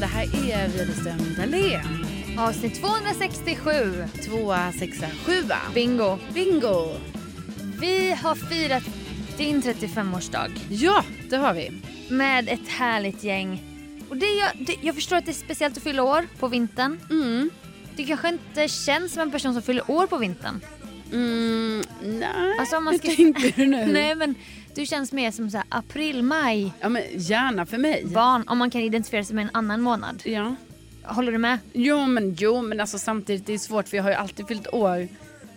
Cecilia Widerström Dahlén. Avsnitt 267. Tvåa, sexa, sjua. Bingo. Bingo! Vi har firat din 35-årsdag Ja, det har vi. med ett härligt gäng. Och det, gör- det, jag förstår att det är speciellt att fylla år på vintern. Mm. Du kanske inte känns som en person som fyller år på vintern. Mm, nej, Alltså, om man hur ska- tänker du nu? Nej men du känns mer som så här april, maj, Ja, men gärna för mig. barn. Om man kan identifiera sig med en annan månad. Ja. Håller du med? Jo, men, jo, men alltså, samtidigt det är svårt för jag har ju alltid fyllt år.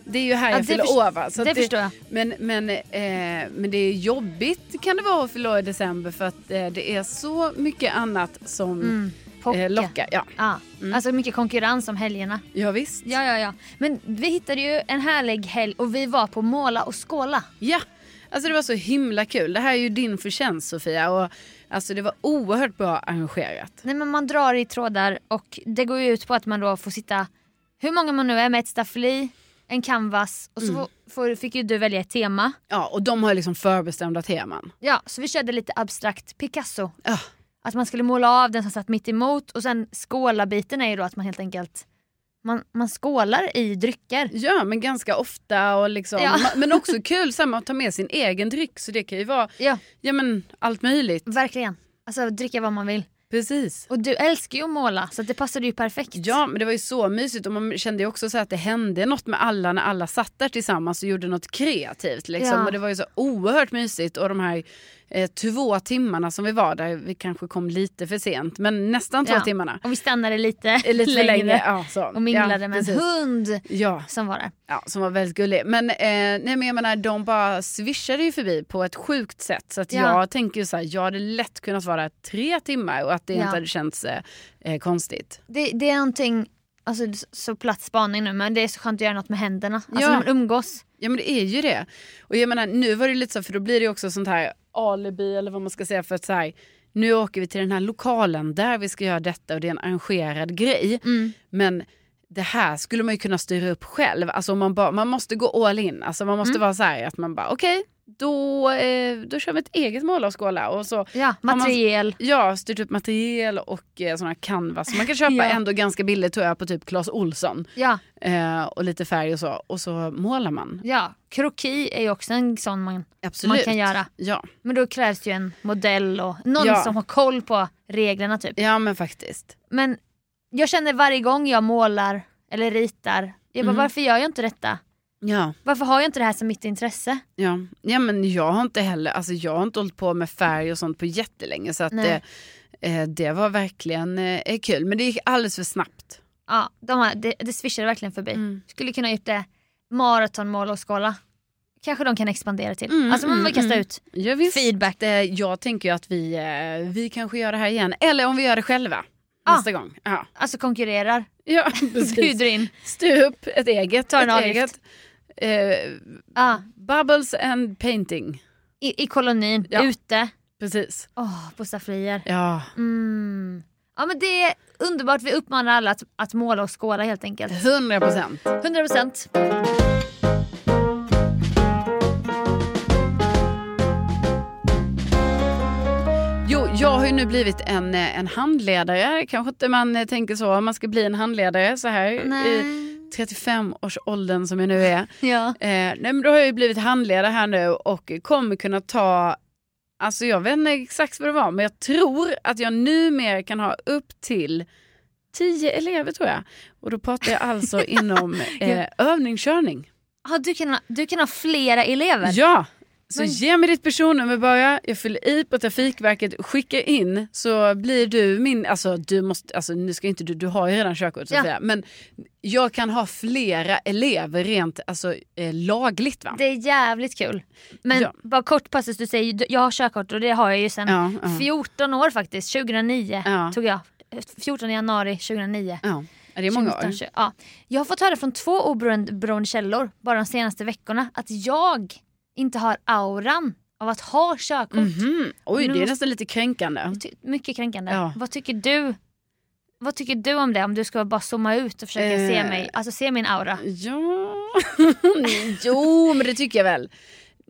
Det är ju här Ja, jag det fyller förs- år. Va? Så det att förstår jag. Men, men, eh, men det är jobbigt kan det vara att fylla år i december för att eh, det är så mycket annat som Mm. Pocka. eh, lockar. Ja, Ja. Alltså mycket konkurrens om helgerna. ja visst. Ja, ja, ja. Men vi hittade ju en härlig helg och vi var på Måla och Skåla. Ja, alltså det var så himla kul. Det här är ju din förtjänst Sofia och alltså det var oerhört bra arrangerat. Nej men man drar i trådar och det går ju ut på att man då får sitta, hur många man nu är, med ett staffli, en canvas och så får- får, fick ju du välja ett tema. Ja, och de har liksom förbestämda teman. Ja, så vi körde lite abstrakt Picasso. Ja. Att man skulle måla av den som satt mitt emot och sen skåla-biten är ju då att man helt enkelt, man, man skålar i drycker. Ja, men ganska ofta och liksom. Ja. ma- Men också kul samma att ta med sin egen dryck så det kan ju vara Ja, ja, men, allt möjligt. verkligen. Alltså dricka vad man vill. Precis. Och du älskar ju att måla så att det passade ju perfekt. Ja men det var ju så mysigt och man kände ju också så här att det hände något med alla när alla satt där tillsammans och gjorde något kreativt. Liksom. Ja. Och det var ju så oerhört mysigt och de här eh, två timmarna som vi var där, vi kanske kom lite för sent men nästan två Ja. timmarna. Och vi stannade lite, Eh, Lite för länge. Ja, så. och minglade ja, med en precis. hund Ja, som var där. ja, som var väldigt gullig. Men, eh, nej, men jag menar, de bara swishade ju förbi på ett sjukt sätt. Så att Ja. jag tänker ju så här, jag hade lätt kunnat vara där tre timmar och att det Ja. inte hade känts eh, eh, konstigt. Det, det är någonting, alltså det är så platt spaning nu men det är så skönt att göra något med händerna. Alltså Ja. när man umgås. Ja men det är ju det. Och jag menar nu var det lite så för då blir det ju också sånt här alibi eller vad man ska säga för att så här, nu åker vi till den här lokalen där vi ska göra detta och det är en arrangerad grej. Mm. Men det här skulle man ju kunna styra upp själv. Alltså man, bara, man måste gå all in. Alltså man Mm. måste vara så här att man bara okej, då, eh, då kör vi ett eget mål och skåla. Och så Ja, man- materiel. Ja, styrt upp material och eh, såna här canvas. som Man kan köpa Ja. ändå ganska billigt tror jag på typ Clas Olsson. Ja, Eh, och lite färg och så. Och så målar man. ja. Kroki är ju också en sån man, Absolut. man kan göra. Ja. Men då krävs ju en modell och någon Ja. som har koll på reglerna typ. ja, men faktiskt. Men jag känner varje gång jag målar eller ritar, jag bara Mm. varför gör jag inte detta? Ja. Varför har jag inte det här som mitt intresse? Ja. ja, men jag har inte heller, alltså jag har inte hållit på med färg och sånt på jättelänge så att eh, Nej. eh, det var verkligen eh, kul. Men det gick alldeles för snabbt. Ja, de har, det, det swishade verkligen förbi. Mm. Skulle kunna ha gjort det maratonmål och skala. Kanske de kan expandera till. Mm, alltså man mm, vill kasta mm. ut Ja, visst. feedback. Eh, jag tänker ju att vi, eh, vi kanske gör det här igen, eller om vi gör det själva Ah. nästa gång. Ja, Alltså konkurrerar. ja Bjuder precis. in. Styr upp ett eget. Ta en ett avgift. eget. Eh, Ja, bubbles and painting. i, I kolonin, Ja. ute. Precis. Åh, på stafflier. Ja, Mm. Ja men det är underbart. Vi uppmanar alla att, att måla och skåla helt enkelt. 100 procent. 100 procent. Jo, jag har ju nu blivit en, eh, en handledare. Kanske inte man eh, tänker så om man ska bli en handledare så här i 35-årsåldern som jag nu är. Ja. Eh, nej, men då har jag ju blivit handledare här nu och kommer kunna ta, alltså jag vet inte exakt vad det var, men jag tror att jag numera kan ha upp till 10 elever tror jag. Och då pratar jag alltså inom eh, övningskörning. Ah, du, kan ha, du kan ha flera elever. Ja! Så Men- ge mig ditt personnummer bara, jag fyller i på Trafikverket, skicka in så blir du min, alltså du måste, alltså nu ska inte du, du har ju redan körkort så Ja. att säga, men jag kan ha flera elever rent alltså eh, lagligt va? Det är jävligt kul. Men Ja. bara kort passus, du säger ju- jag har körkort och det har jag ju sen Ja, ja. 14 år faktiskt, 2009 Ja. tog jag. 14 januari 2009. Ja, det är många år. 2019, ja. Jag har fått höra från två oberoende oberoende källor bara de senaste veckorna att jag inte har auran av att ha körkort. Mm. Mhm. Oj, Nu det är måste- nästan lite kränkande. Ty- Mycket kränkande. Ja. Vad tycker du? Vad tycker du om det? Om du ska bara zooma ut och försöka Eh. se mig, alltså se min aura. Ja, jo men det tycker jag väl.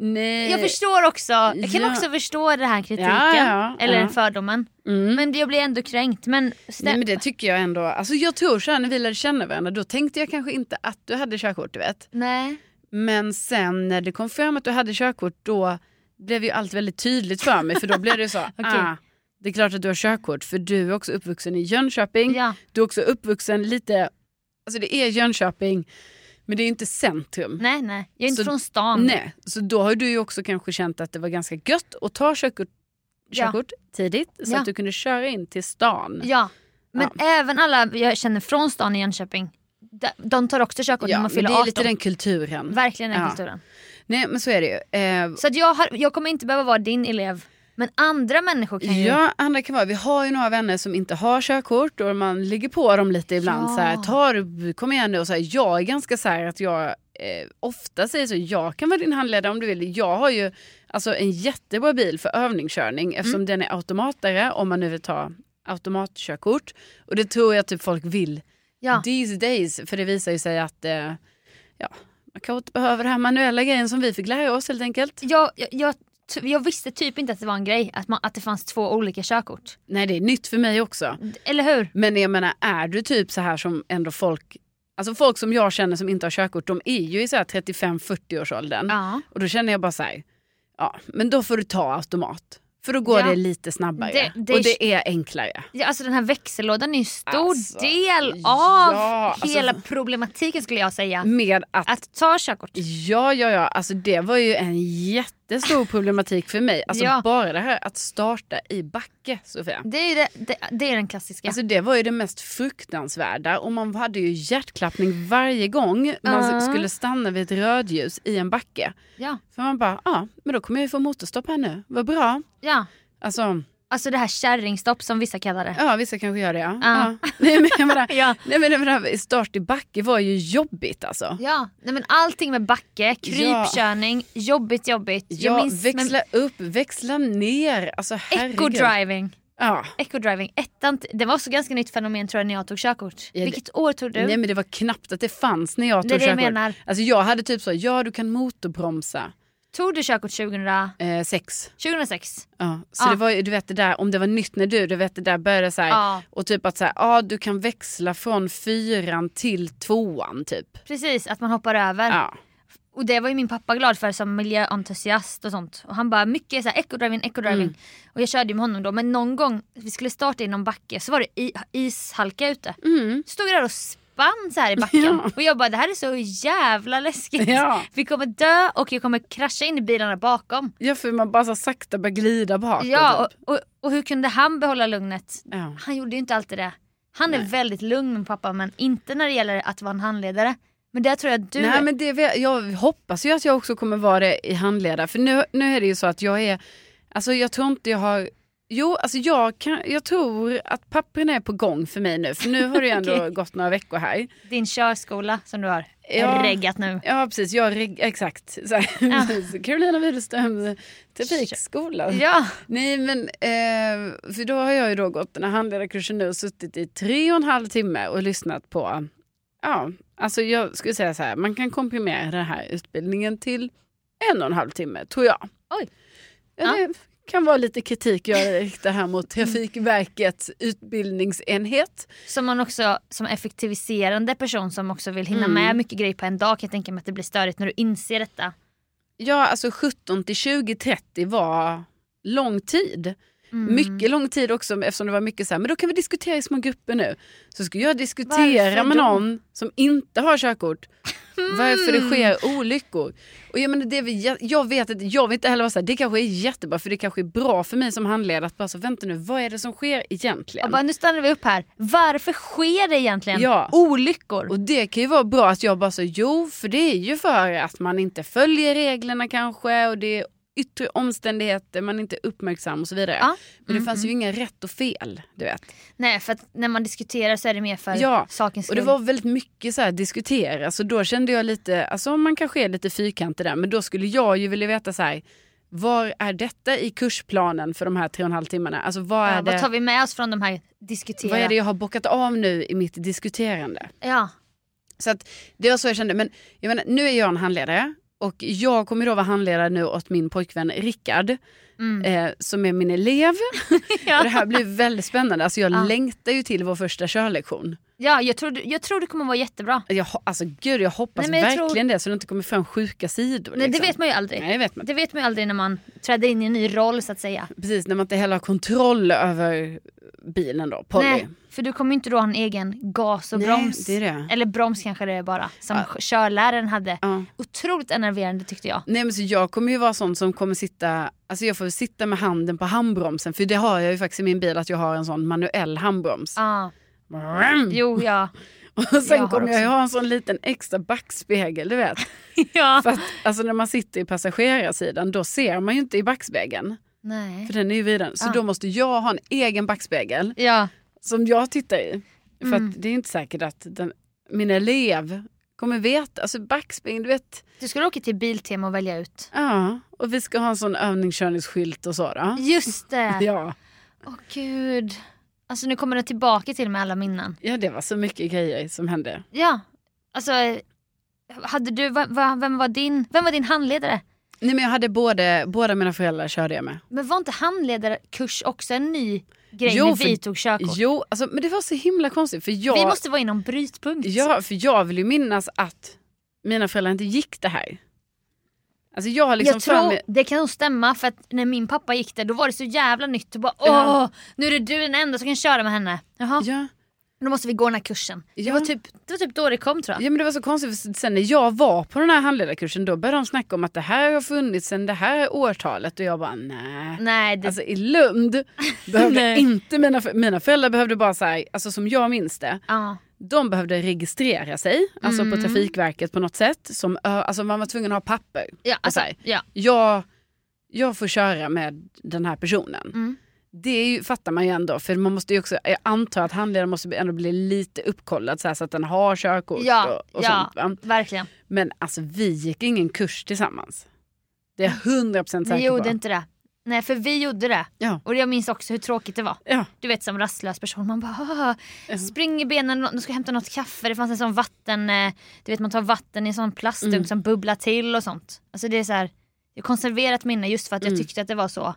Nej. Jag förstår också, jag kan eh, Ja. också förstå den här kritiken. Ja, ja, eller ja. fördomen. Mm. Men jag blir ändå kränkt. Men, stä- Nej men det tycker jag ändå. Alltså jag tror så här när vi lärde känna varandra då tänkte jag kanske inte att du hade körkort du vet. nej. Men sen när det kom fram att du hade körkort då blev ju allt väldigt tydligt för mig för då blev det så ah, det är klart att du har körkort för du är också uppvuxen i Jönköping. Ja. Du är också uppvuxen lite, alltså det är Jönköping men det är ju inte centrum. nej, nej. Jag är inte Så- från stan. Nej, så då har du ju också kanske känt att det var ganska gött att ta körkort, Ja. körkort tidigt så Ja. att du kunde köra in till stan. Ja. Men även alla jag känner från stan i Jönköping, de, de tar också körkort när man men fyller det är 18. lite den kulturen. Verkligen den Ja. kulturen. Nej men så är det ju. Eh, Så att jag, har, jag kommer inte behöva vara din elev. Men andra människor kan ju... Ja, andra kan vara. Vi har ju några vänner som inte har körkort och man ligger på dem lite ibland. Ja. Så här, tar, du- kom igen nu. Och så här, jag är ganska så här att jag eh, ofta säger så. Jag kan vara din handledare om du vill. Jag har ju alltså, en jättebra bil för övningskörning eftersom Mm. den är automatare om man nu vill ta automatkörkort. Och det tror jag typ folk vill Ja. these days. För det visar ju sig att eh, ja, man kanske inte behöver den här manuella grejen som vi fick lära oss helt enkelt. Jag, jag, jag, t- jag visste typ inte att det var en grej, att, man, att det fanns två olika körkort. Nej, det är nytt för mig också. Eller hur? Men jag menar, är du typ så här som ändå folk... Alltså folk som jag känner som inte har körkort, de är ju i så här 35-40-årsåldern. Ja. Och då känner jag bara så här, ja, men då får du ta automat. För då går Ja. det lite snabbare. Det- det är- och det är enklare. Ja, alltså den här växellådan är ju en stor Alltså, del ja, av alltså- hela problematiken skulle jag säga. Med att... Att ta körkort. Ja, ja, ja. Alltså det var ju en jättestor problematik för mig. Alltså Ja. bara det här att starta i backe, Sofia. Det är, ju det, det, det är den klassiska. Alltså det var ju det mest fruktansvärda och man hade ju hjärtklappning varje gång man Ja. skulle stanna vid ett rödljus i en backe. ja, För man bara, ja, men då kommer jag ju få motorstopp här nu. Vad bra. ja. Alltså, Alltså det här kärringstopp som vissa kallar det. ja vissa kanske gör det ja. Ja. ja. Nej, men jag menar, Ja. nej men jag menar, start i backe var ju jobbigt alltså. Ja, nej men allting med backe, krypkörning, jobbigt jobbigt. Jag Ja, minns växla upp, växla ner. Alltså men, herregud. eco-driving. Ja. Eco-driving, ettan, t- det var också ganska nytt fenomen tror jag när jag tog körkort. Ja, det- Vilket år tog du? Nej men det var knappt att det fanns när jag det är tog det jag körkort. menar. Alltså jag hade typ så, ja du kan motorbromsa Tog du körkort 2000, eh, sex. 2006? Ja, så Ja. det var ju, du vet det där, om det var nytt när du, du vet det där började så här, Ja. och typ att så här, ja du kan växla från fyran till tvåan typ. Precis, att man hoppar över. Ja. Och det var ju min pappa glad för som miljöentusiast och sånt. Och han bara mycket såhär eco-driving, eco-driving. Mm. Och jag körde ju med honom då men någon gång vi skulle starta i någon backe så var det i, ishalka ute. Mm. Stod jag där och spann så här i backen. Ja. Och jag bara det här är så jävla läskigt. Ja. Vi kommer dö och jag kommer krascha in i bilarna bakom. ja, för man bara så sakta börjar glida bakåt. Ja, typ. och, och, och hur kunde han behålla lugnet? ja. Han gjorde ju inte alltid det. Han är väldigt lugn min pappa men inte när det gäller att vara en handledare. Men där tror jag att du är. Nej, men det, vet- jag hoppas ju att jag också kommer vara det i handledare. För nu, nu är det ju så att jag är, alltså jag tror inte jag har, jo alltså jag, kan, jag tror att papperna är på gång för mig nu. För nu har det ju ändå Okej. gått några veckor här. din körskola som du har Ja. reggat nu. Ja precis, jag, reg- exakt. Så här. Carolina Widerström, trafikskola. Ja, Nej men, eh, för då har jag ju då gått den här handledarkursen nu och suttit i tre och en halv timme och lyssnat på, ja, alltså jag skulle säga så här, man kan komprimera den här utbildningen till en och en halv timme, tror jag. Oj. Ja, det kan vara lite kritik jag riktar här mot Trafikverkets utbildningsenhet. som man också som effektiviserande person som också vill hinna Mm. med mycket grejer på en dag kan jag tänka mig att det blir störigt när du inser detta. Ja, alltså 17 till 20, 30 var lång tid. Mm. Mycket lång tid också eftersom det var mycket så här, men då kan vi diskutera i små grupper nu. Så skulle jag diskutera Varför med då? Mm. någon som inte har körkort varför det sker olyckor. Och jag, menar, det är, väl jä- jag vet att jag vill inte heller vara så här, det kanske är jättebra för det kanske är bra för mig som handledare att bara så vänta nu, vad är det som sker Jag egentligen? bara, nu stannar vi upp här. Varför sker det egentligen Ja. olyckor? Och det kan ju vara bra att jag bara så, jo för det är ju för att man inte följer reglerna kanske och det är yttre omständigheter, man är inte uppmärksam och så vidare. Ja. Men det fanns ju inga rätt och fel, du vet. Nej, för att när man diskuterar så är det mer för Ja, sakens Och skull. det var väldigt mycket så här diskutera, så då kände jag lite, alltså man kanske är lite fyrkantig där, men då skulle jag ju vilja veta så här, var är detta i kursplanen för de här tre och en halv timmarna? Alltså vad är ja, det, vad tar vi med oss från de här diskutera? vad är det jag har bockat av nu i mitt diskuterande? Ja. Så att det var så jag kände, men jag menar, nu är jag en handledare Och jag kommer då vara handledare nu åt min pojkvän Rickard Mm. eh, som är min elev. Och det Ja. här blir väldigt spännande. Alltså jag Ja. längtar ju till vår första körlektion. Ja, jag, tror, du- jag tror det kommer vara jättebra. Jag, ho- alltså gud jag hoppas Nej, men jag tror- verkligen det så det inte kommer fram sjuka sidor. Nej, det liksom. vet man ju aldrig. Nej, det vet man inte. Det vet man ju aldrig när man träder in i en ny roll så att säga. Precis, när man inte heller har kontroll över bilen då, Polly. Nej, för du kommer ju inte då ha en egen gas och Nej, broms. det är det. Eller broms kanske det är bara, som körläraren hade. Ja. Otroligt enerverande tyckte jag. Nej men så jag kommer ju vara sån som kommer sitta, alltså jag får sitta med handen på handbromsen för det har jag ju faktiskt i min bil att jag har en sån manuell handbroms. Ja, Vroom! jo ja. Och sen jag har kommer jag ju också. ha en sån liten extra backspegel du vet. ja. För att alltså när man sitter i passagerarsidan då ser man ju inte i backspegeln. Nej. För den är ju vriden. Så Ja. då måste jag ha en egen backspegel Ja. som jag tittar i. För Mm. att det är inte säkert att den, min elev kommer veta, alltså backspegeln du vet. Du skulle åka till Biltema och välja ut. Ja, och vi ska ha en sån övningskörningsskylt och så då. Just det! Ja. Åh gud. Alltså nu kommer det tillbaka till mig alla minnen. Ja, det var så mycket grejer som hände. Ja. Alltså, hade du, va, va, vem, var din, vem var din handledare? Nej, men jag hade både, båda mina föräldrar körde jag med. Men var inte handledarkurs också en ny grej Jo, när för- vi tog körkort? Jo, alltså, men det var så himla konstigt. För jag, Vi måste vara i någon brytpunkt. ja, för jag vill ju minnas att mina föräldrar inte gick det här. Alltså jag har liksom jag för tror, mig- det kan nog stämma för att när min pappa gick där då var det så jävla nytt och bara Ja. åh, nu är det du den enda som kan köra med henne. Jaha, Ja, då måste vi gå den här kursen. Ja. Det, var typ, det var typ då det kom tror jag. ja, men det var så konstigt. För sen när jag var på den här handledarkursen då började de snacka om att det här har funnits sedan det här årtalet och jag bara nej. Nej, det, Alltså i Lund behövde Nej. inte mina, för- mina föräldrar behövde bara så här, alltså som jag minns det, ja. De behövde registrera sig, alltså på Mm. Trafikverket på något sätt. Som, ö- alltså man var tvungen att ha papper. Ja, Och så alltså, här. ja. Jag, jag får köra med den här personen. Mm. Det är ju, fattar man ju ändå, för man måste ju också, jag antar att handledaren måste ändå bli lite uppkollad så, här, så att den har körkort Ja, och, och ja. sånt. Va? Verkligen. Men alltså vi gick ingen kurs tillsammans. Det är jag 100% Mm. Vi säker gjorde på. inte det. Nej, för vi gjorde det. Ja. Och jag minns också hur tråkigt det var. Ja. Du vet som rastlös person, man bara "Ah, spring i benen, du ska hämta något kaffe, det fanns en sån vatten, eh, du vet man tar vatten i en sån plastdunk Mm. som bubblar till och sånt. Alltså det är så här, jag har konserverat minne just för att jag Mm. tyckte att det var så,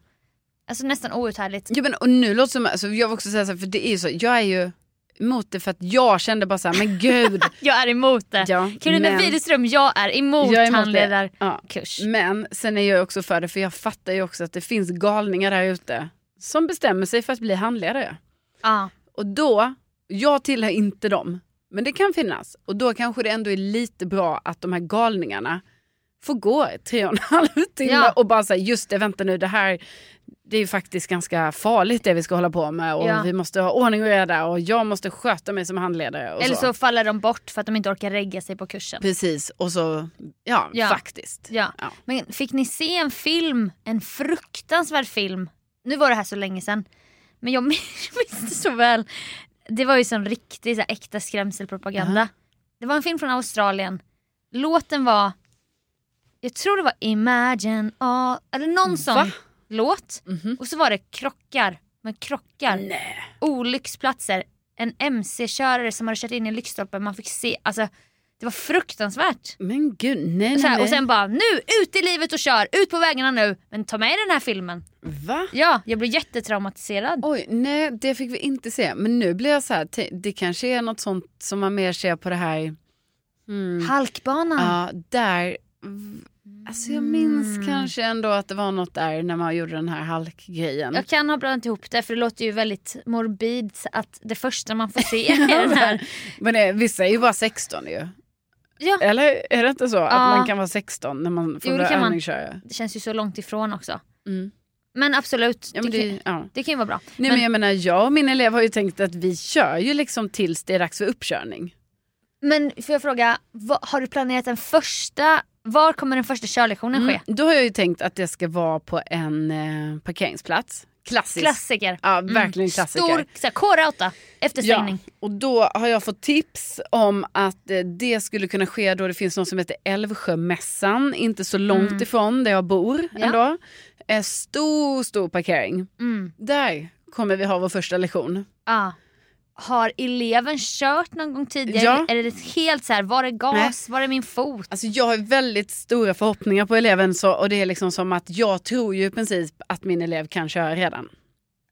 alltså nästan outhärdligt. Jo, men, och nu låter det som, alltså, jag vill också säga så här, för det är ju så, jag är ju emot det för att jag kände bara så här, men gud. Jag är emot det. ja, Carolina men- Widerström, jag är emot, Jag är emot det. Mm. handledarkurs. Ja. Men sen är jag också för det, för jag fattar ju också att det finns galningar där ute som bestämmer sig för att bli handledare. Ja. Och då, jag tillhör inte dem, men det kan finnas. Och då kanske det ändå är lite bra att de här galningarna får gå i tre och en halv timme Ja. och bara säga just det, vänta nu, det här det är ju faktiskt ganska farligt det vi ska hålla på med och Ja. vi måste ha ordning och reda och jag måste sköta mig som handledare. Och Eller så faller de bort för att de inte orkar regga sig på kursen. Precis, och så, ja, Ja. faktiskt. Ja. Ja. Men fick ni se en film, en fruktansvärd film? Nu var det här så länge sedan. Men jag minns det så väl. Det var ju sån riktig så här, äkta skrämselpropaganda. Det var en film från Australien. Låten var, jag tror det var Imagine all, eller någon Mm. Va? sån låt. Mhm. Mm. Och så var det krockar, med krockar, Nej. olycksplatser. En mc-körare som hade kört in i en lyktstolpe, man fick se, alltså det var fruktansvärt. Men gud, nej, nej, Så här, nej. och sen bara nu, ut i livet och kör, ut på vägarna nu. Men ta med den här filmen. Va? Ja, jag blev jättetraumatiserad. Oj, nej det fick vi inte se. Men nu blir jag så här, te- det kanske är något sånt som man mer ser på det här. Mm. Halkbanan. Ja, där. v- Alltså jag minns Mm. kanske ändå att det var något där när man gjorde den här halkgrejen. Jag kan ha blandat ihop det för det låter ju väldigt morbid att det första man får se är den här. Men eh, vissa är ju bara 16 ju. Ja, Eller är det inte så? Ja. Att man kan vara 16 när man får Jo, det börja kan man. övningsköra? det känns ju så långt ifrån också. Mm. Men absolut, Ja, men det, kan, det, ja. det kan ju vara bra. Nej, men Men- jag menar, jag och min elev har ju tänkt att vi kör ju liksom tills det är dags för uppkörning. Men får jag fråga, vad, har du planerat den första, var kommer den första körlektionen ske? Mm. Då har jag ju tänkt att det ska vara på en eh, parkeringsplats. Klassiskt. Klassiker. Ja, Mm. verkligen klassiker. Stor så här, K-rauta, ja. efterstängning. Och då har jag fått tips om att eh, det skulle kunna ske då det finns något som heter Älvsjömässan, inte så långt Mm. ifrån där jag bor Ja. ändå. Eh, stor, stor parkering. Mm. Där kommer vi ha vår första lektion. Ja. har eleven kört någon gång tidigare? Ja. Är det helt så här, var är gas, var är min fot? Alltså jag har väldigt stora förhoppningar på eleven så, och det är liksom som att jag tror ju i princip att min elev kan köra redan.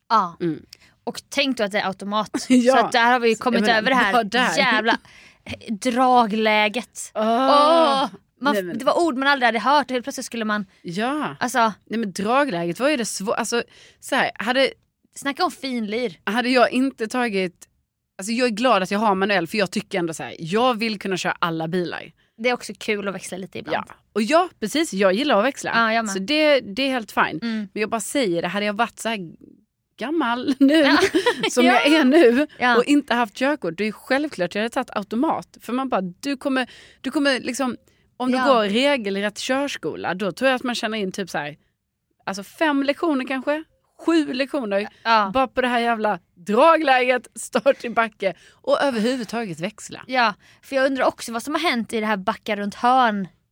Ja. Mm. Ah. Och tänk då att det är automat. Ja. Så att där har vi ju kommit Jag menar, över det här bara där. jävla eh, dragläget. Åh! Åh! man, Ah. Nej, men- Det var ord man aldrig hade hört och helt plötsligt skulle man, Ja, alltså Nej, men dragläget var ju det svåra. Alltså, så här, hade, snacka om finlir. hade jag inte tagit... Alltså jag är glad att jag har manuell för jag tycker ändå så här, jag vill kunna köra alla bilar. Det är också kul att växla lite ibland. Ja. Och ja, precis, jag gillar att växla. Ja, jag med. så det, det är helt fine. Mm. Men jag bara säger det, hade jag varit så här gammal nu, som Ja. jag är nu Ja. och inte haft körkort, det är ju självklart jag hade tagit automat. För man bara, du kommer, du kommer liksom, om du Ja. går regelrätt körskola, då tror jag att man känner in typ så här, alltså fem lektioner kanske, sju lektioner, Ja. bara på det här jävla dragläget, start i backe och överhuvudtaget växla. ja, för jag undrar också vad som har hänt i det här backa runt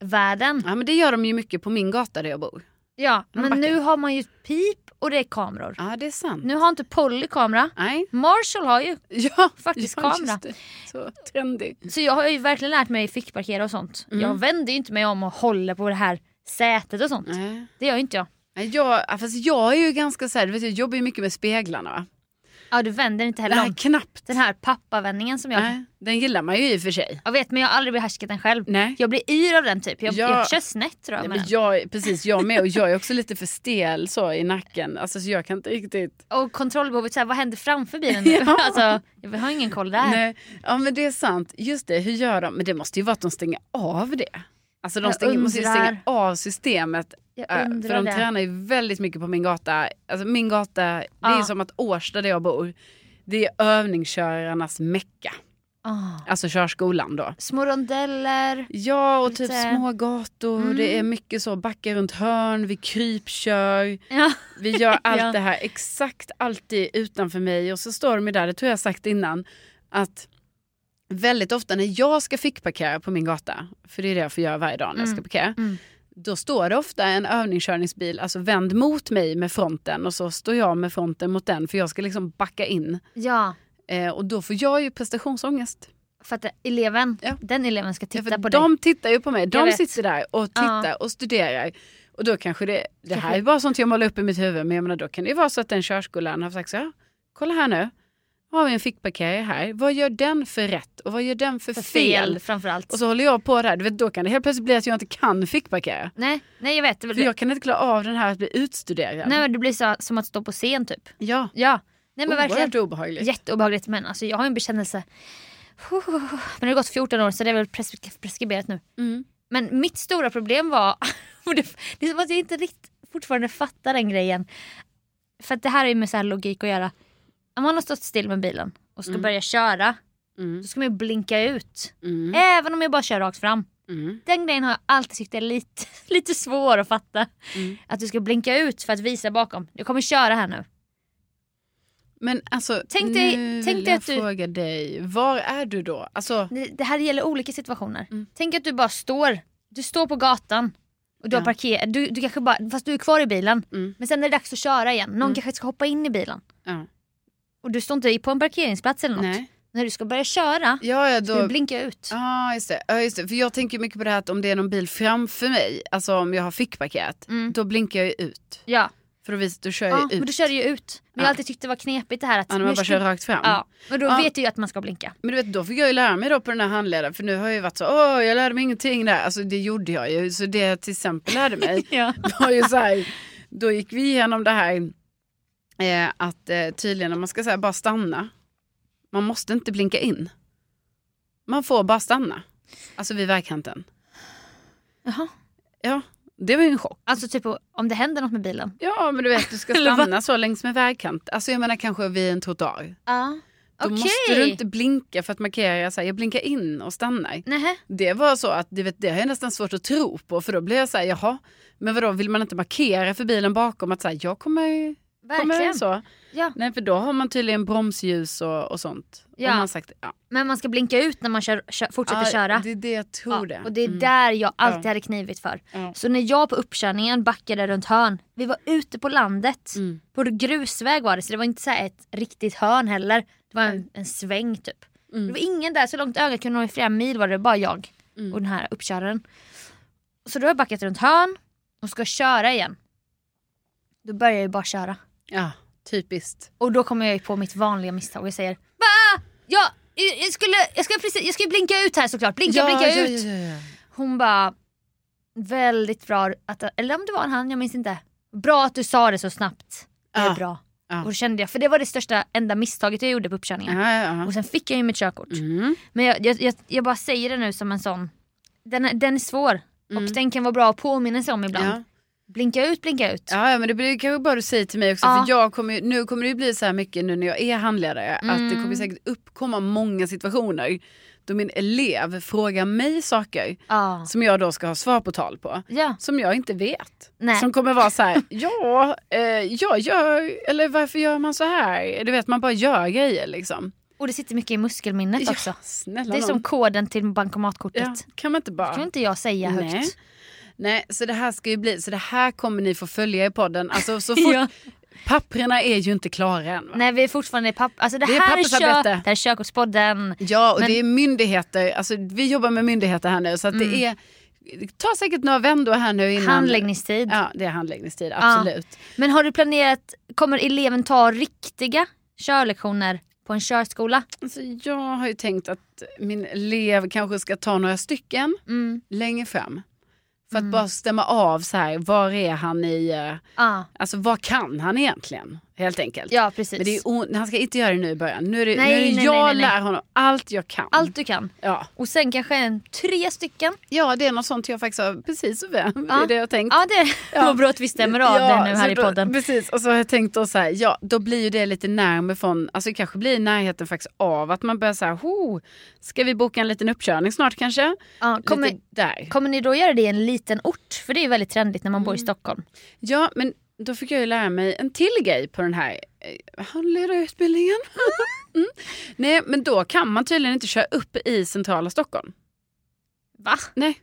hörn-världen. Ja men det gör de ju mycket på min gata där jag bor. Ja, Man men backar. nu har man ju pip och det är kameror. Ja det är sant. Nu har inte Polly kamera. Nej. Marshall har ju. Ja, Faktiskt ja, just kamera. det. Så trendig. Så jag har ju verkligen lärt mig fickparkera och sånt. Mm. Jag vänder ju inte mig om och håller på det här sätet och sånt. Nej. Det gör ju inte jag. Nej, Jag, ja, fast jag är ju ganska så här, du vet, jag jobbar ju mycket med speglarna. Va? Ja, du vänder inte heller Nej, om. knappt. Den här pappavändningen som jag... Nej, den gillar man ju i och för sig. Jag vet, men jag har aldrig behärskat den själv. Nej. Jag blir yr av den typ. Jag, Ja. jag kör snett tror jag, Nej, med men jag, precis, jag med. Och jag är också lite för stel så i nacken. Alltså, så jag kan inte riktigt... den. Och kontrollbehovet, så här, vad händer framför bilen nu? Ja. alltså, jag har ingen koll där. Nej. Ja, men det är sant. Just det, hur gör de? Men det måste ju vara att de stänger av det. Alltså de Jag stänger, måste ju undrar. stänga av systemet. Jag eh, undrar För de det. tränar ju väldigt mycket på min gata. Alltså min gata, det är Ja. ju som att Årsta där jag bor, det är övningskörarnas mecka. Ah. Alltså körskolan då. Små rondeller. Ja, och typ Lite- små gator. Mm. Det är mycket så, backa runt hörn, vi krypkör. Ja. Vi gör allt Ja. det här exakt alltid utanför mig. Och så står de ju där, det tror jag sagt innan, att väldigt ofta när jag ska fickparkera på min gata, för det är det jag får göra varje dag när jag Mm. ska parkera, Mm. då står det ofta en övningskörningsbil alltså vänd mot mig med fronten och så står jag med fronten mot den för jag ska liksom backa in. ja. Eh, och då får jag ju prestationsångest. För att eleven, Ja. den eleven ska titta ja, för på dig. de tittar ju på mig. Jag De vet. sitter där och tittar och studerar. Och då kanske det, det här är bara sånt jag målar upp i mitt huvud, men jag menar, då kan det ju vara så att den körskolan har sagt så här, kolla här nu, har vi en fickparkerare här, vad gör den för rätt och vad gör den för, För fel? fel framförallt. Och så håller jag på där, du vet, då kan det helt plötsligt bli att jag inte kan fickparkera. Nej, nej jag vet. Det, För jag kan inte klara av den här att bli utstuderad. nej, men det blir så, som att stå på scen typ. Ja, Ja. Nej men verkligen. oerhört obehagligt. Jätteobehagligt men alltså, jag har ju en bekännelse. Huh. Men det har gått 14 år så det är väl pres- preskriberat nu. Mm. Men mitt stora problem var, och det, det är som att jag inte riktigt fortfarande fattar den grejen. För att det här är ju med så här logik att göra. Om man har stått still med bilen och ska Mm. börja köra, Mm. då ska man ju blinka ut. Mm. Även om jag bara kör rakt fram. Mm. Den grejen har jag alltid tyckt är lite, lite svår att fatta. Mm. Att du ska blinka ut för att visa bakom. Jag kommer köra här nu. Men alltså, Tänk dig- nu tänk vill dig jag att du- fråga dig, var är du då? Alltså, Det, det här gäller olika situationer. Mm. Tänk att du bara står. Du står på gatan. Och du har Ja. parkerat. Du, du kanske bara, fast du är kvar i bilen. Mm. Men sen är det dags att köra igen. Någon Mm. kanske ska hoppa in i bilen. ja. Och du står inte på en parkeringsplats eller något. nej. När du ska börja köra Ja, ja, ska du då... blinka ut. Ja, just det. Ja, just det. För jag tänker mycket på det här att om det är någon bil framför mig, alltså om jag har fickparkerat, Mm. då blinkar jag ju ut. Ja, För då, vis, då kör jag ja ju men ut. du kör ju ut. Men jag Ja. har alltid tyckt det var knepigt det här att... ja, när nu man bara ska- kör rakt fram. Ja, men då Ja. vet du ju att man ska blinka. Men du vet, då fick jag ju lära mig då på den här handledaren, för nu har jag ju varit så, åh, jag lärde mig ingenting där. Alltså det gjorde jag ju. Så det jag till exempel lärde mig Ja. var ju så här, då gick vi igenom det här eh, att eh, tydligen om man ska så här, bara stanna, man måste inte blinka in. Man får bara stanna. Alltså vid vägkanten. Jaha. Ja, det var ju en chock. Alltså typ om det händer något med bilen. Ja men du vet du ska Eller vad? stanna så längs med vägkant. Alltså jag menar kanske vid en trottoar. Ja. Då Okej. måste du inte blinka för att markera så här, jag blinkar in och stannar. Nähä. Det var så att du vet, det har jag nästan svårt att tro på för då blir jag så här jaha men vadå vill man inte markera för bilen bakom att så här, jag kommer, kommer Verkligen. så. Ja. Nej för då har man tydligen bromsljus och, och sånt. Ja. Och man har sagt, ja. Men man ska blinka ut när man kör, kör, fortsätter Ja, köra. Det är det jag tror det. Ja, och det är Mm. där jag alltid Ja. hade knivit för. Ja. Så när jag på uppkörningen backade runt hörn. Vi var ute på landet. Mm. På grusväg var det så det var inte så här ett riktigt hörn heller. Det var en, en sväng typ. Mm. Det var ingen där, så långt ögat kunde nå i flera mil var det bara jag Mm. och den här uppköraren. Så då har jag backat runt hörn och ska köra igen. Då börjar jag ju bara köra. Ja, typiskt. Och då kommer jag ju på mitt vanliga misstag och jag säger Va? Ja, jag, jag, skulle, jag, ska precis, jag ska ju blinka ut här såklart, blinka, ja, blinka ja, ut. Ja, ja, ja. Hon bara, väldigt bra att, eller om det var en han, jag minns inte. Bra att du sa det så snabbt. Det är Ja. bra. Ja. Och då kände jag, för det var det största enda misstaget jag gjorde på uppkörningen. Ja, ja, ja. Och sen fick jag ju mitt körkort. Mm. Men jag, jag, jag, jag bara säger det nu som en sån, den, är- den är svår. Och den kan vara bra att påminna sig om ibland. Mm. Ja. Blinka ut, blinka ut. Ja, ja, men det blir ju kanske bara du säger till mig också. Ja. För jag kommer ju, nu kommer det ju bli så här mycket nu när jag är handledare. Att det Mm. kommer säkert uppkomma många situationer då min elev frågar mig saker Ja. som jag då ska ha svar på tal på. ja. Som jag inte vet. Nej. Som kommer vara så här, ja, eh, jag gör, eller varför gör man så här? Du vet, man bara gör grejer liksom. Och det sitter mycket i muskelminnet också. Ja, snälla Det är Mm. nån. som koden till bankomatkortet. ja, Kan man inte Det bara... kan inte jag säga högt. Nej. Nej, så det här ska ju bli, så det här kommer ni få följa i podden. Alltså så fort, Ja. papperna är ju inte klara än. Va? Nej vi är fortfarande i papp... Alltså det, Det är här är kö... pappersarbete. det här är körkortspodden. Ja, och Men- det är myndigheter, alltså vi jobbar med myndigheter här nu så att det är, det tar säkert några vändor här nu innan. Handläggningstid. Ja, det är handläggningstid, absolut. Men har du planerat, kommer eleven ta riktiga körlektioner på en körskola? Alltså, jag har ju tänkt att min elev kanske ska ta några stycken Mm. längre fram. För att bara stämma av så här, var är han i, eh, Ah. alltså vad kan han egentligen? Helt enkelt. Ja precis. Men det är o- han ska inte göra det nu i början. Nu är det, Nej, nu är det nej, nej, jag nej, nej. lär honom allt jag kan. Allt du kan. Ja. Och sen kanske en, tre stycken. ja, det är något sånt jag faktiskt har precis så väl. Det Ja. är det jag har tänkt. Ja det Ja. var bra att vi stämmer av Ja, det nu så här i då, podden. Precis, och så har jag tänkt då så här, ja då blir ju det lite närmare från, alltså det kanske blir i närheten faktiskt av att man börjar så här, ho, ska vi boka en liten uppkörning snart kanske? Ja, kommer, Lite där. kommer ni då göra det i en liten ort? För det är ju väldigt trendigt när man Mm. bor i Stockholm. Ja, men då fick jag ju lära mig en till grej på den här eh, handledarutbildningen. mm. Nej, men då kan man tydligen inte köra upp i centrala Stockholm. Va? Nej,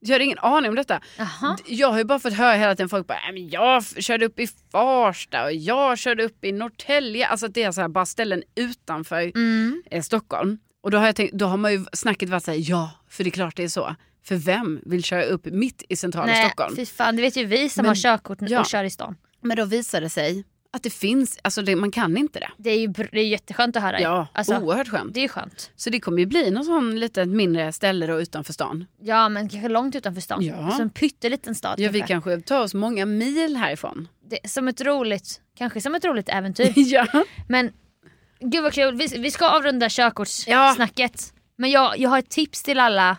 jag har ingen aning om detta. Jaha. D- Jag har ju bara fått höra hela tiden folk bara, "Nej, men jag f- körde upp i Farsta och jag körde upp i Norrtälje. Alltså att det är så här, bara ställen utanför Mm. eh, Stockholm. Och då har, jag tänkt, då har man ju snacket varit såhär, ja, för det är klart det är så. För vem vill köra upp mitt i centrala Nej Stockholm? fy fan det vet ju vi som Men- har körkort ja. och kör i stan. Men då visar det sig att det finns, alltså det, man kan inte det. Det är ju br- det är jätteskönt att höra. Ja, alltså, oerhört skönt. Det är ju skönt. Så det kommer ju bli någon sån litet mindre ställe då utanför stan. Ja men kanske långt utanför stan. Ja. Som en pytteliten stad. Ja, vi kanske. kanske tar oss många mil härifrån. Det, som ett roligt, kanske som ett roligt äventyr. ja. men gud vad kul, vi, vi ska avrunda Ja. körkortssnacket. Men jag, jag har ett tips till alla.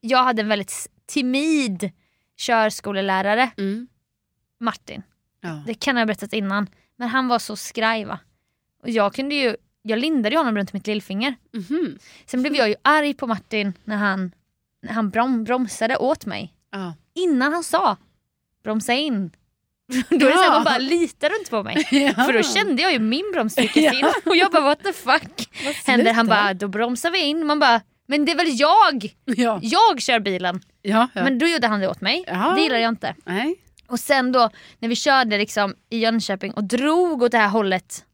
Jag hade en väldigt s- timid körskolelärare, Mm. Martin. ja. Det kan jag ha berättat innan. Men han var så skraj va. Och jag kunde ju, jag lindade ju honom runt mitt lillfinger. Mhm. Sen blev jag ju arg på Martin när han, när han brom, bromsade åt mig. ja. Innan han sa bromsa in. Då är det så här, Ja. Ah. man bara litar du inte på mig? För då kände jag ju min broms tryckas in och jag bara what the fuck händer? Han bara då bromsar vi in. Man bara men det är väl jag? Ja. Jag kör bilen. Ja, Ah. ja. Men då gjorde han det åt mig. Ja. Det gillar jag inte. Nej. Och sen då när vi körde liksom i Jönköping och drog åt det här hållet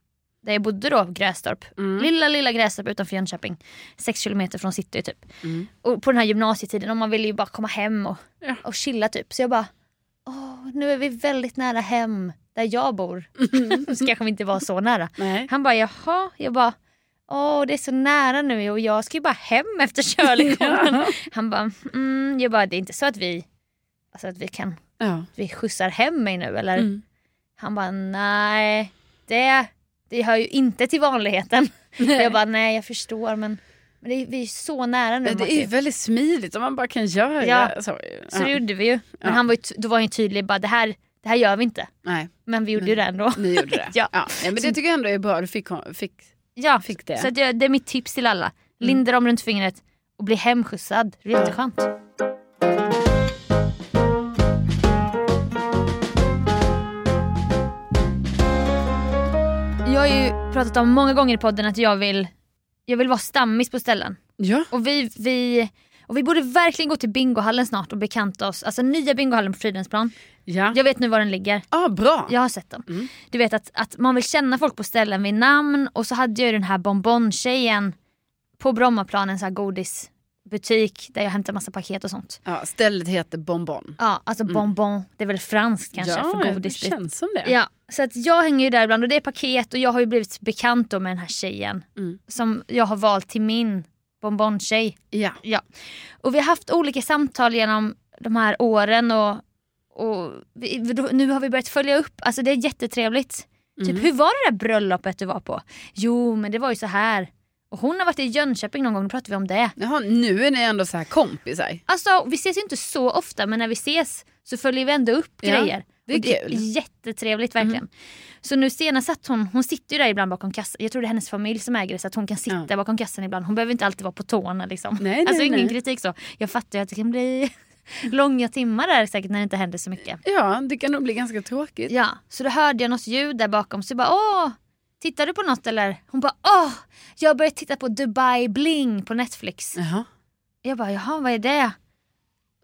där jag bodde då, Grästorp. Mm. Lilla lilla Grästorp utanför Jönköping. Sex kilometer från city typ. Mm. Och på den här gymnasietiden och man ville ju bara komma hem och, Ja. och chilla typ. Så jag bara, åh nu är vi väldigt nära hem där jag bor. Mm. så kanske vi inte var så nära. Nej. Han bara jaha, jag bara åh det är så nära nu och jag ska ju bara hem efter körlektionen. Ja. Han bara mm, jag bara det är inte så att vi, alltså att vi kan Ja. vi skjutsar hem mig nu eller? Mm. Han bara nej, det, det hör ju inte till vanligheten. Jag bara nej jag förstår men, men det, är- vi är så nära nu Det är ju Martin." väldigt smidigt om man bara kan göra Ja. så. Så Ja. det gjorde vi ju. Men Ja. han var ju, ty- då var han ju tydlig bara det här, det här gör vi inte. Nej, Men vi gjorde ju det ändå. ni gjorde det. Ja. Men det tycker jag ändå är bra. Du fick, fick Ja, Fick det. Mm. Så att jag, det är mitt tips till alla. Linda dem runt fingret och bli hemskjutsad. Det är jätteskönt. Jag har ju pratat om många gånger i podden att jag vill, jag vill vara stammis på ställen. Ja. Och vi, vi, okej Och vi borde verkligen gå till bingohallen snart och bekanta oss. Alltså nya bingohallen på Fridhemsplan. Ja, Jag vet nu var den ligger. ah, bra. Jag har sett dem. Mm. Du vet att, att man vill känna folk på ställen vid namn och så hade jag ju den här bonbon-tjejen på Brommaplan, en sån här godisbutik där jag hämtar massa paket och sånt. Ja, stället heter Bonbon. Ja, alltså bonbon, det är väl franskt kanske för Mm. ja, det godis. typ. känns som det. Ja, så att jag hänger ju där ibland och det är paket och jag har ju blivit bekant då med den här tjejen Mm. som jag har valt till min bonbontjej. Ja. Och vi har haft olika samtal genom de här åren och, och vi, nu har vi börjat följa upp, alltså det är jättetrevligt. Typ hur var det där bröllopet du var på? Jo men det var ju så här. Och hon har varit i Jönköping någon gång, då pratade vi om det. Jaha, nu är ni ändå så här kompisar. Alltså vi ses ju inte så ofta men när vi ses så följer vi ändå upp Ja, grejer. det är Och kul. Jättetrevligt verkligen. Så nu senast satt hon, hon sitter ju där ibland bakom kassan. Jag tror det är hennes familj som äger det så att hon kan sitta Ja. bakom kassan ibland. Hon behöver inte alltid vara på tårna liksom. Nej, nej, alltså ingen nej. kritik så. Jag fattar ju att det kan bli långa timmar där säkert när det inte händer så mycket. Ja, det kan nog bli ganska tråkigt. Ja, så då hörde jag något ljud där bakom så jag bara åh, tittar du på något eller? Hon bara åh, jag har börjat titta på Dubai Bling på Netflix. Jaha. Jag bara, jaha vad är det?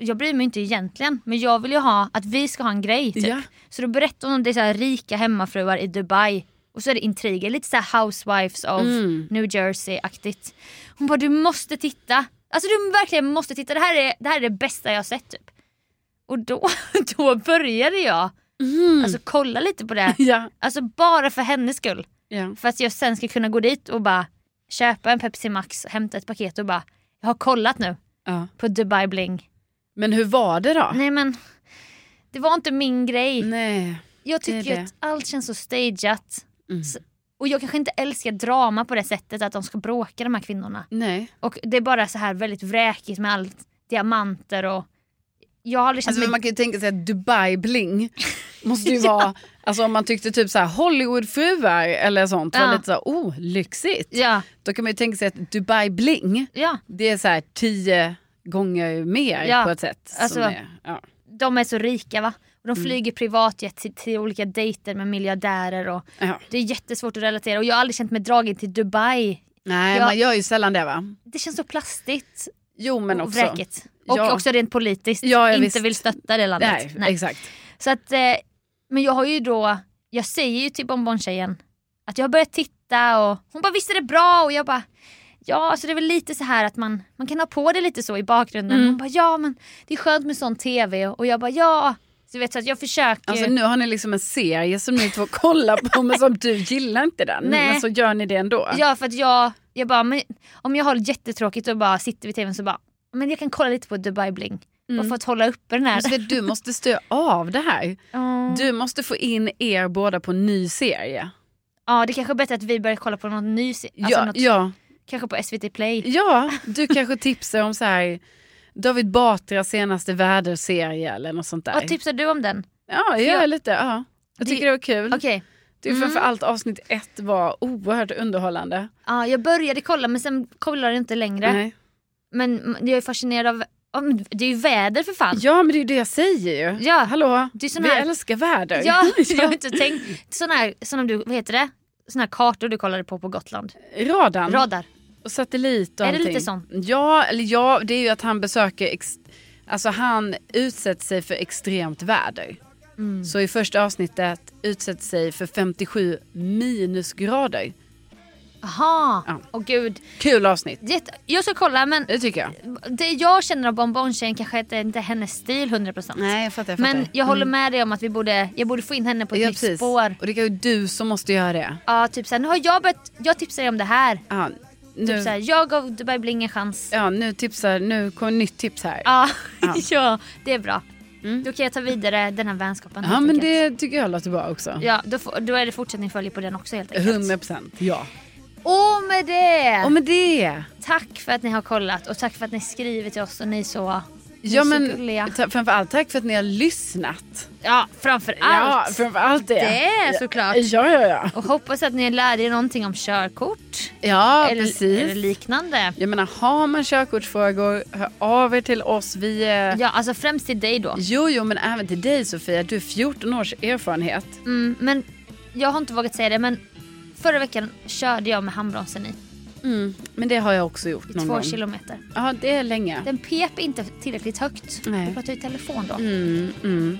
Jag bryr mig inte egentligen men jag vill ju ha att vi ska ha en grej. Typ. Ja. Så då berättar hon om det är så här rika hemmafruar i Dubai och så är det intriger, lite så här housewives of Mm. New Jersey-aktigt. Hon bara, du måste titta. Alltså du verkligen måste titta, det här är det, här är det bästa jag har sett typ. Och då, då började jag Mm. alltså, kolla lite på det. ja. Alltså bara för hennes skull. ja. För att jag sen ska kunna gå dit och bara köpa en Pepsi Max, hämta ett paket och bara, jag har kollat nu ja. på Dubai Bling. Men hur var det då? Nej men, det var inte min grej. Nej. jag Mm, det är tycker ju det. att allt känns så stageat. Mm. Så- Och jag kanske inte älskar drama på det sättet att de ska bråka de här kvinnorna. Nej. Och det är bara så här väldigt vräkigt med allt. Diamanter och... Jag har aldrig känt Alltså, mig... man kan ju tänka sig att Dubai bling måste ju vara, alltså om man tyckte typ så här Hollywoodfruar eller sånt var Ja. lite så här, oh lyxigt. Ja, Då kan man ju tänka sig att Dubai bling, ja. det är så här tio gånger mer Ja, på ett sätt. som alltså- är- ja. De är så rika va? Och de Mm. flyger privatjet till, till olika dejter med miljardärer och Ja. det är jättesvårt att relatera och jag har aldrig känt mig dragen till Dubai. Nej, Ja. man gör ju sällan det va? Det känns så plastigt Jo men och också. vräkigt. Och Ja. också rent politiskt. Ja, ja, inte visst. vill stötta det landet. Nej, exakt. Så att, eh, men jag har ju då, jag säger ju till bonbontjejen att jag har börjat titta och hon bara visst är det bra och jag bara ja alltså det är väl lite så här att man, man kan ha på det lite så i bakgrunden. Mm. Hon bara ja men det är skönt med sån tv och jag bara ja. Så du vet så att jag försöker. Alltså nu har ni liksom en serie som ni två kollar på men som du gillar inte den. Nej. Men så gör ni det ändå. Ja för att jag, jag bara men, om jag har jättetråkigt och bara sitter vid tvn så bara men jag kan kolla lite på Dubai Bling. Mm. Bara för att hålla uppe den här. Just det, Du måste stö av det här. Ja. Du måste få in er båda på en ny serie. Ja det kanske är bättre att vi börjar kolla på någon ny se- alltså ja, något, ja, kanske på SVT Play. ja, du kanske tipsar om så här, David Batras senaste väderserie eller något sånt där. Vad tipsar du om den? ja, gör jag- lite. Ja. Jag typ. Det- tycker det var kul. Okej. Mm. Det är framförallt avsnitt ett var oerhört underhållande. Ja, jag började kolla men sen kollade jag inte längre. Nej. Men mm, jag är fascinerad av, ja, men det är ju väder för fan. Ja men det är ju det jag säger ju. Ja, Hallå, det är sån vi här- älskar väder. ja jag har inte tänkt. Sån här, sån här, du, vad heter det? Sån här kartor du kollade på på Gotland. Radarn. Radar. Och satellit och Är det lite allting. sånt? Ja, eller ja, det är ju att han besöker... Ex- alltså han utsätter sig för extremt väder. Mm. Så i första avsnittet utsätter sig för 57 minusgrader. Jaha, Ja. åh gud. Kul avsnitt, Jätte, jag ska kolla men det tycker jag. det jag känner av bonbontjejen kanske inte är hennes stil 100%. Nej, jag fattar. Jag fattar. Mm. men jag håller med dig om att vi borde, jag borde få in henne på ett ja, nytt precis. spår. Och det är ju du som måste göra det. Ja, typ såhär, nu har jag börjat, jag tipsar dig om det här. Ja, nu, Typ såhär, jag gav Dubai Bling en chans. ja, nu tipsar, nu kommer ett nytt tips här. Ja, Ja. ja det är bra. Då kan jag ta vidare den här vänskapen. Ja, helt men enkelt. det tycker jag låter bra också. Ja, då, får- då är det fortsättning följer på den också helt enkelt. 100 procent, ja. Och med det! Och med det. Tack för att ni har kollat och tack för att ni skriver till oss och ni är så, ni Ja, är så men gulliga. ta- framförallt tack för att ni har lyssnat. Ja, framför allt. Ja, framförallt det. Det är såklart. Ja, ja, ja. Och hoppas att ni lärde er någonting om körkort. Ja, eller, precis. eller liknande. jag menar, har man körkortsfrågor, hör av er till oss. Vi är... Ja, alltså främst till dig då. Jo, jo, men även till dig Sofia. Du har 14 års erfarenhet. Mm, men jag har inte vågat säga det men förra veckan körde jag med handbromsen i. Mm, men det har jag också gjort i någon två gång. kilometer. Ja, det är länge. Den pep inte tillräckligt högt. Nej. Jag pratade i telefon då. Mm, mm.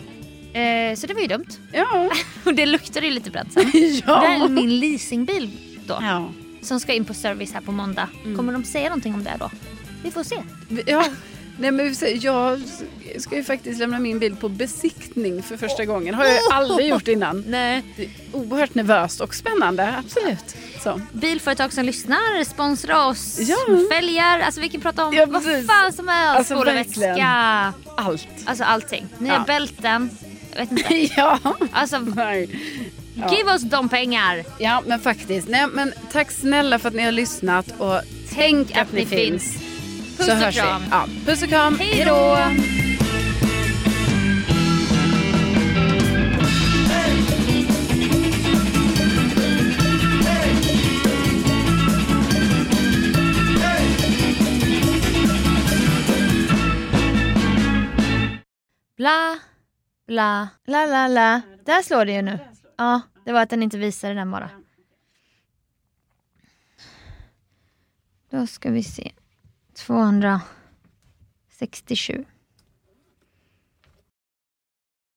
Eh, så det var ju dumt. Ja. Och det luktade ju lite bränt sen. Det här är ja. min leasingbil då. ja. Som ska in på service här på måndag. Mm. Kommer de säga någonting om det då? Vi får se. Ja, nej men vi säger- jag ska ju faktiskt lämna min bil på besiktning för första gången. har jag ju aldrig gjort innan. Nej. Det är Oerhört nervöst och spännande, absolut. Så. Bilföretag som lyssnar, sponsra oss, Ja. följer. Alltså vi kan prata om Ja, vad precis. fan som helst. Alltså, Spolarvätska, Allt. alltså allting. Nya Ja. bälten. Jag vet inte. Ja. Alltså Nej. Ja. give oss de pengar. ja, men faktiskt. Nej, men tack snälla för att ni har lyssnat och tänk att ni finns. Puss Så och hörs vi. kram. Ja, puss och kram. Hej då! Bla, bla, la, la, la. Där slår det ju nu. Ja, det var att den inte visade den bara. Då ska vi se. 267.